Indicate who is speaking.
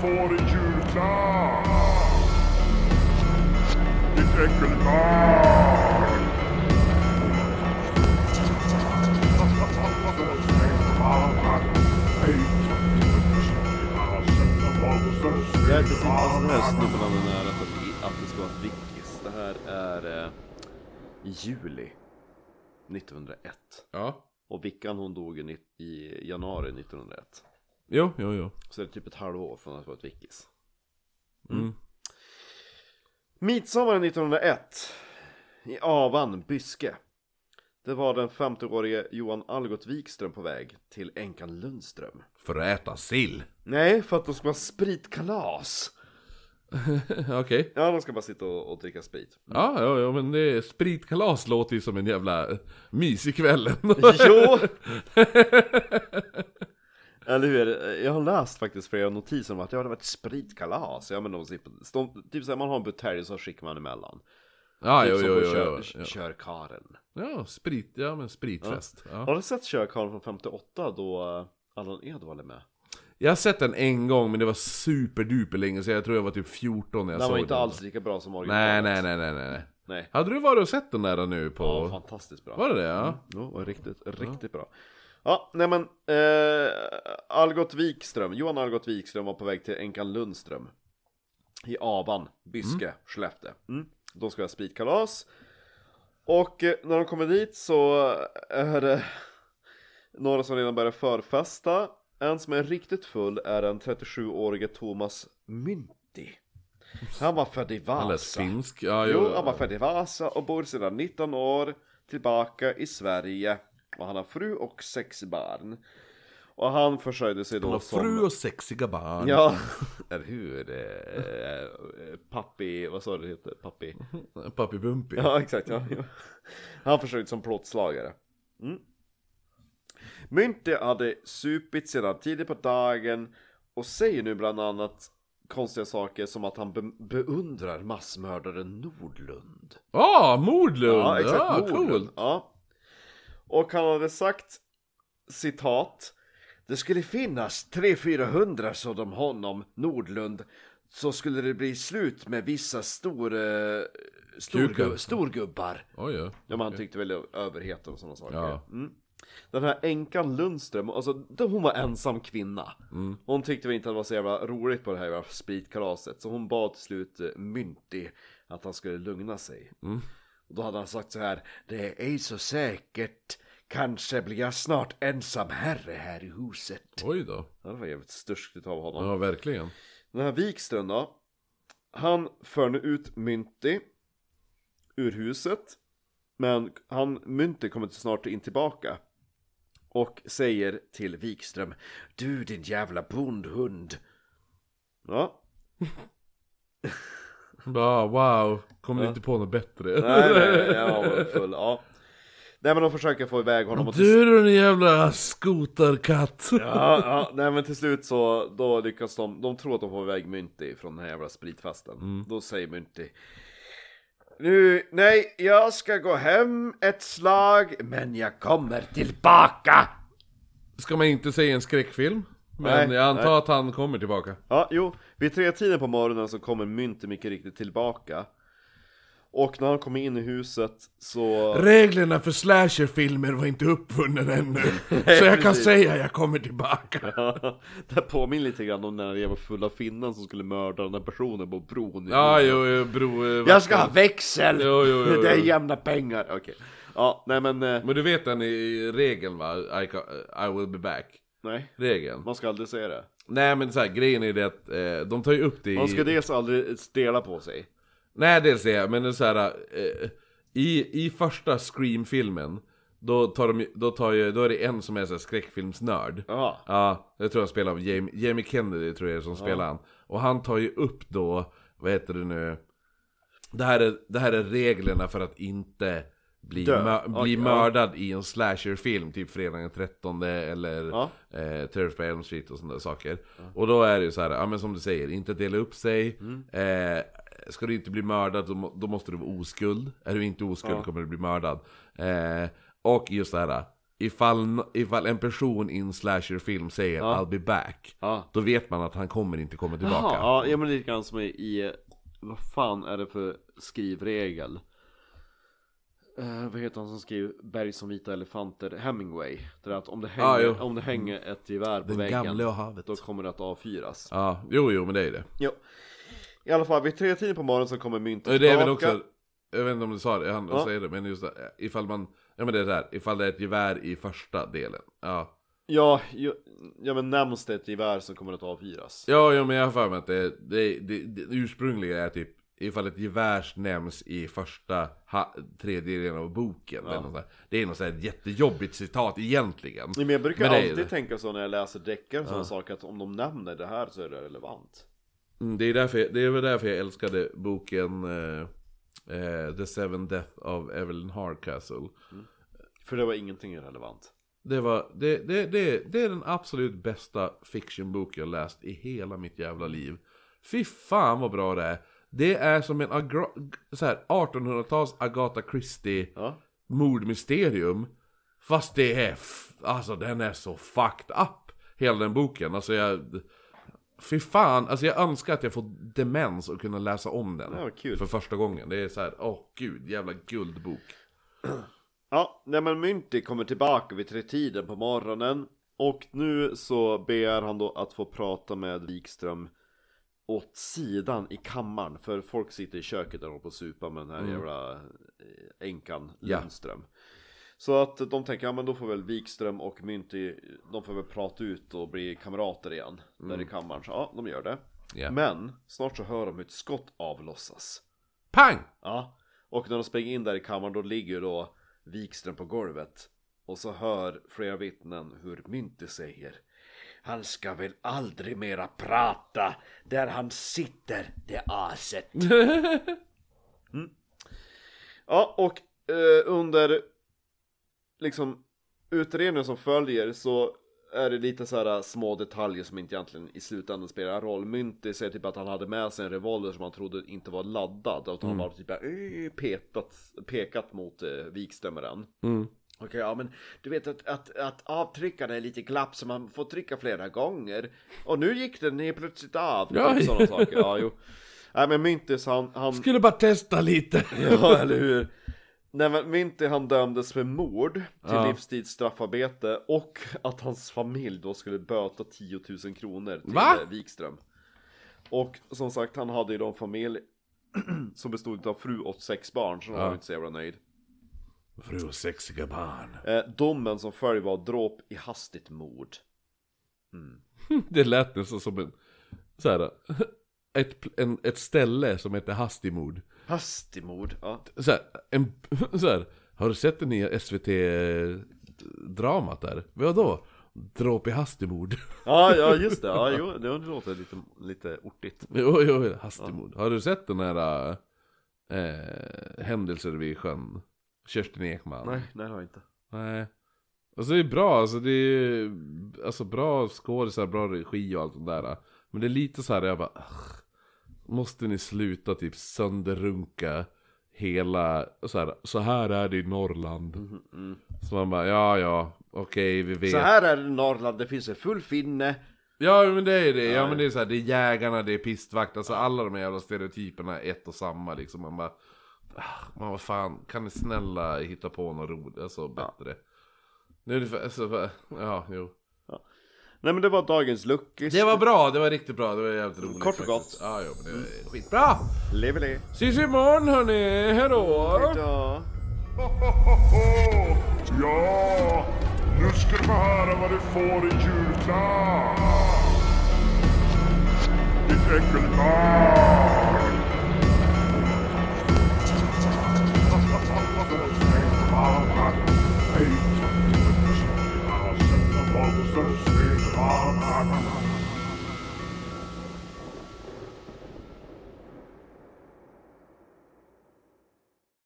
Speaker 1: får i julklapp? Ditt äckelbarn!
Speaker 2: Det här är precis alltså det här snubblar med nära att, det- att det ska vara ett vickis. Det här är eh, i juli 1901.
Speaker 3: Ja.
Speaker 2: Och Vickan hon dog i, nitt- i januari 1901.
Speaker 3: Jo, jo, jo.
Speaker 2: Så det är typ ett halvår från att det var ett vickis.
Speaker 3: Mm.
Speaker 2: Midsommaren 1901 i Avan, Byske. Det var den 50-årige Johan Algot Wikström på väg till änkan Lundström.
Speaker 3: För att äta sill.
Speaker 2: Nej, för att de ska ha spritkalas.
Speaker 3: Okej.
Speaker 2: Ja, de ska bara sitta och, och dricka sprit.
Speaker 3: Ja, ja, ja, men det är, spritkalas låter ju som en jävla mysig kväll.
Speaker 2: Jo! Eller hur? Jag har läst faktiskt flera notiser om att ja, det var ett spritkalas. Ja, men de sitter, de, typ såhär, man har en butelj så skickar man emellan.
Speaker 3: ja,
Speaker 2: typ
Speaker 3: Ah, jo,
Speaker 2: som
Speaker 3: jo,
Speaker 2: på
Speaker 3: jo,
Speaker 2: kör,
Speaker 3: jo, jo.
Speaker 2: körkaren.
Speaker 3: Ja, sprit, ja men spritfest. Ja.
Speaker 2: Har du sett körkaren från 58 då eh, Allan Edwall är med?
Speaker 3: Jag har sett den en gång, men det var superduper länge så jag tror jag var typ 14 när jag
Speaker 2: Den
Speaker 3: såg
Speaker 2: var
Speaker 3: den.
Speaker 2: inte alls lika bra som
Speaker 3: Nej,
Speaker 2: originalet.
Speaker 3: nej, nej, nej, nej. nej.
Speaker 2: nej.
Speaker 3: Hade du varit och sett den där nu på...
Speaker 2: Ja, fantastiskt bra. Mm.
Speaker 3: var det det? Ja.
Speaker 2: Jo, och riktigt, riktigt bra. Ja, nej men eh, Algot Wikström, Johan Algot Wikström var på väg till Enkan Lundström i Avan, Byske, Skellefteå. Mm. De ska ha spritkalas. Och eh, när de kommer dit så är det några som redan börjar förfesta. En som är riktigt full är den 37-årige Thomas Mynti. Han var född i
Speaker 3: Han lät
Speaker 2: Vasa.
Speaker 3: finsk. Ja, jo,
Speaker 2: Alltså. Jo, han var född i Vasa och bor sedan 19 år tillbaka i Sverige. Och han har fru och sex barn. Och han försörjde sig
Speaker 3: Han
Speaker 2: då
Speaker 3: har
Speaker 2: som...
Speaker 3: fru och sexiga barn.
Speaker 2: Ja, eller hur? Eh, eh, Pappi, vad sa du det heter? Pappi?
Speaker 3: Pappi Bumpy.
Speaker 2: Ja, exakt. Ja, ja. Han försökte som plåtslagare. Mm. Mynte hade supit sedan tidigt på dagen och säger nu bland annat konstiga saker som att han be- beundrar massmördaren Nordlund.
Speaker 3: Ah, Mordlund!
Speaker 2: Ja, exakt.
Speaker 3: Ah,
Speaker 2: Nordlund.
Speaker 3: coolt.
Speaker 2: Ja. Och han hade sagt, citat, det skulle finnas 300-400 sådant honom, Nordlund, så skulle det bli slut med vissa stor, eh, storgu-
Speaker 3: Kukar.
Speaker 2: storgubbar.
Speaker 3: Oj, ja.
Speaker 2: Ja, men han tyckte väl överheten och sådana saker.
Speaker 3: Ja.
Speaker 2: Mm. Den här änkan Lundström, alltså då hon var ensam kvinna. Hon tyckte väl inte att det var så jävla roligt på det här jävla spritkalaset. Så hon bad till slut eh, Mynti att han skulle lugna sig. Och då hade han sagt så här. Det är ej så säkert. Kanske blir jag snart ensam herre här i huset.
Speaker 3: Oj då.
Speaker 2: Ja, Det var jävligt sturskigt av honom.
Speaker 3: Ja, verkligen.
Speaker 2: Den här Wikström då. Han för nu ut Mynti ur huset. Men han, Mynti kommer snart in tillbaka. Och säger till Wikström. Du din jävla bondhund. Ja.
Speaker 3: Ah, wow, kommer du inte på något
Speaker 2: Nej,
Speaker 3: bättre?
Speaker 2: nej, jag var full. Ja. Nej men de försöker få iväg honom. Och till,
Speaker 3: Du är en jävla skotarkatt!
Speaker 2: ja, ja, nej men till slut så då lyckas de. De tror att de får iväg Mynti från den här jävla spritfesten.
Speaker 3: Mm.
Speaker 2: Då säger Mynti. Nu, nej, jag ska gå hem ett slag, men jag kommer tillbaka!
Speaker 3: Ska man inte säga en skräckfilm? Men
Speaker 2: Nej,
Speaker 3: jag antar att han kommer tillbaka.
Speaker 2: Ja, jo, vid tre tiden på morgonen så kommer Mynte mycket riktigt tillbaka. Och när han kommer in i huset så...
Speaker 3: Reglerna för slasherfilmer var inte uppfunnen ännu. så jag kan säga jag kommer tillbaka.
Speaker 2: det här påminner lite grann om den där jävla fulla finnan som skulle mörda den där personen på bron.
Speaker 3: Ja, jo, jo, bro. eh,
Speaker 2: Jag ska ha växel!
Speaker 3: Jo, jo, jo,
Speaker 2: Det är
Speaker 3: jo.
Speaker 2: jämna pengar! Okej. Ja, nej men... eh,
Speaker 3: Men du vet den i regeln va? I, ca- I will be back.
Speaker 2: Nej,
Speaker 3: Regeln.
Speaker 2: man ska aldrig säga det.
Speaker 3: Nej men så här, grejen är det att eh, de tar ju upp det
Speaker 2: Man ska
Speaker 3: i...
Speaker 2: dels aldrig dela på sig.
Speaker 3: Nej dels det, men det är så här, eh, i, I första Scream-filmen, då, tar de, ju- då, tar ju, då är det en som är så här, skräckfilmsnörd.
Speaker 2: Jaha.
Speaker 3: Ja, jag tror han spelar av Jamie, Jamie Kennedy tror jag är som spelar han. Och han tar ju upp då, vad heter det nu? Det här är, det här är reglerna för att inte bli,
Speaker 2: Dö.
Speaker 3: mö- bli
Speaker 2: Okej, ja.
Speaker 3: mördad i en slasherfilm, typ fredagen den 13 eller
Speaker 2: Ja.
Speaker 3: eh, Terror på Elm Street och sådana där saker. Och då är det ju så här, ja men som du säger, inte dela upp sig.
Speaker 2: Mm.
Speaker 3: Eh, ska du inte bli mördad, då, må- då måste du vara oskuld. Är du inte oskuld kommer du bli mördad. Eh, och just det här, ifall, ifall en person i en slasherfilm säger
Speaker 2: Ja.
Speaker 3: I'll be back,
Speaker 2: Ja.
Speaker 3: då vet man att han kommer inte komma tillbaka.
Speaker 2: Jaha, ja, ja men lite grann som i, i eh, vad fan är det för skrivregel? Eh, vad heter han som skrev Berg som vita elefanter? Hemingway. Det där att om det
Speaker 3: Ah,
Speaker 2: hänger,
Speaker 3: jo.
Speaker 2: om det hänger ett gevär på
Speaker 3: Den gamle
Speaker 2: väggen,
Speaker 3: och havet.
Speaker 2: då kommer det att avfyras.
Speaker 3: Ja, jo, jo, men det är det.
Speaker 2: Jo. I alla fall, vid tre tiden på morgonen så kommer myntet
Speaker 3: Och det är väl
Speaker 2: tillbaka.
Speaker 3: också, jag vet inte om du sa det, han
Speaker 2: Ja.
Speaker 3: säger det, men just det, ifall man, ja men det är det här, ifall det är ett gevär i första delen. Ja,
Speaker 2: Ja, ju, ja men nämns det ett gevär så kommer det att avfyras.
Speaker 3: ja, ja men jag har för mig att det, det, det, det ursprungliga är typ Ifall ett gevär nämns i första ha, tredjedelen av boken. eller något sånt där. Det är något sånt här jättejobbigt citat egentligen.
Speaker 2: Nej, Men jag brukar
Speaker 3: Men det är ju
Speaker 2: alltid
Speaker 3: det.
Speaker 2: tänka så när jag läser deckare och sådana saker att om de nämner det här så är det relevant.
Speaker 3: Mm, det, är därför jag, det är väl därför jag älskade boken eh, eh, The Seven Death of Evelyn Hardcastle.
Speaker 2: För det var ingenting relevant.
Speaker 3: Det, var, det, det, det, det är den absolut bästa fictionbok jag läst i hela mitt jävla liv. Fy fan vad bra det är. Det är som en agra- så här, 1800-tals Agatha Christie
Speaker 2: Ja.
Speaker 3: mordmysterium. Fast det är... F- alltså den är så fucked up. Hela den boken. Alltså jag... Fy fan, alltså jag önskar att jag får demens och kunna läsa om den.
Speaker 2: Ja, vad kul.
Speaker 3: För första gången. Det är så här, åh gud, jävla guldbok.
Speaker 2: Ja, nej men Mynti kommer tillbaka vid tre tiden på morgonen Och nu så begär han då att få prata med Wikström åt sidan i kammaren För folk sitter i köket där och håller på att supa med den här jävla eh, änkan
Speaker 3: Mm. Ja.
Speaker 2: Lundström Så att de tänker, ja men då får väl Wikström och Mynti De får väl prata ut och bli kamrater igen Där i kammaren, så ja de gör det
Speaker 3: Mm. Ja.
Speaker 2: Men snart så hör de hur ett skott avlossas
Speaker 3: Pang!
Speaker 2: Ja, och när de springer in där i kammaren då ligger ju då Wikström på golvet och så hör flera vittnen hur Mynte säger Han ska väl aldrig mera prata där han sitter, det aset. mm. Ja, och eh, under liksom utredningen som följer så är det lite så här eh, små detaljer som inte egentligen i slutändan spelar roll. Mynti säger typ att han hade med sig en revolver som han trodde inte var laddad. Utan han bara typ eh, petat, pekat mot eh, Wikström med den.
Speaker 3: Mm.
Speaker 2: Okej, ja men du vet att, att, att avtryckarna är lite glapp så man får trycka flera gånger. Och nu gick den ner plötsligt av.
Speaker 3: Ja.
Speaker 2: Typ sådana saker. Ja, jo. Nej men Myntis han, han
Speaker 3: Skulle bara testa lite.
Speaker 2: Ja, eller hur? Nej men Minty han dömdes för mord till livstidsstraffarbete och att hans familj då skulle böta 10 000 kronor till
Speaker 3: Va?
Speaker 2: eh, Wikström. Och som sagt, han hade ju då en familj som bestod av fru och sex barn, så han var ju inte så jävla nöjd.
Speaker 3: Fru och sexiga barn.
Speaker 2: Eh, domen som följer var dråp i hastigt mord.
Speaker 3: Det lät nästan som en, så här, ett, pl- en, ett ställe som heter Hastimord.
Speaker 2: Hastigt mord, ja.
Speaker 3: Så här, en, så här, har du sett det nya SVT-dramat där? Vadå? Dråp i Hastimord.
Speaker 2: Ja, ja just det, ja, jo, det låter lite, lite ortigt.
Speaker 3: jo, jo, Hastimord. Har du sett den här eh, Händelser vid sjön? Kerstin Ekman?
Speaker 2: Nej, nej det har jag inte.
Speaker 3: Nej. Alltså det är bra, alltså det är alltså bra skådisar, bra regi och allt det där. Men det är lite så här jag bara, "Ugh, måste ni sluta typ sönderrunka hela, så här, så här är det i Norrland. Så man bara, ja ja, okej vi vet.
Speaker 2: Mm-hmm, mm. Så här är det i Norrland, det finns en full finne.
Speaker 3: Ja men det är det, ja men det är så här, det är jägarna, det är pistvakt, alltså alla de här jävla stereotyperna är ett och samma liksom. Man bara, "Ah, man vad fan, kan ni snälla hitta på något roligt, alltså bättre. Nu är det för, alltså, för, ja jo.
Speaker 2: Nej men det var dagens luckis.
Speaker 3: Det var bra, det var riktigt bra, det var jävligt roligt
Speaker 2: Kort och gott.
Speaker 3: faktiskt. Ja, jo, men det var skitbra!
Speaker 2: Leveli.
Speaker 3: Ses imorgon hörni, hejdå!
Speaker 2: Ja.
Speaker 1: Ja, nu ska du få höra vad du får i julklapp. Ditt äckelbarn.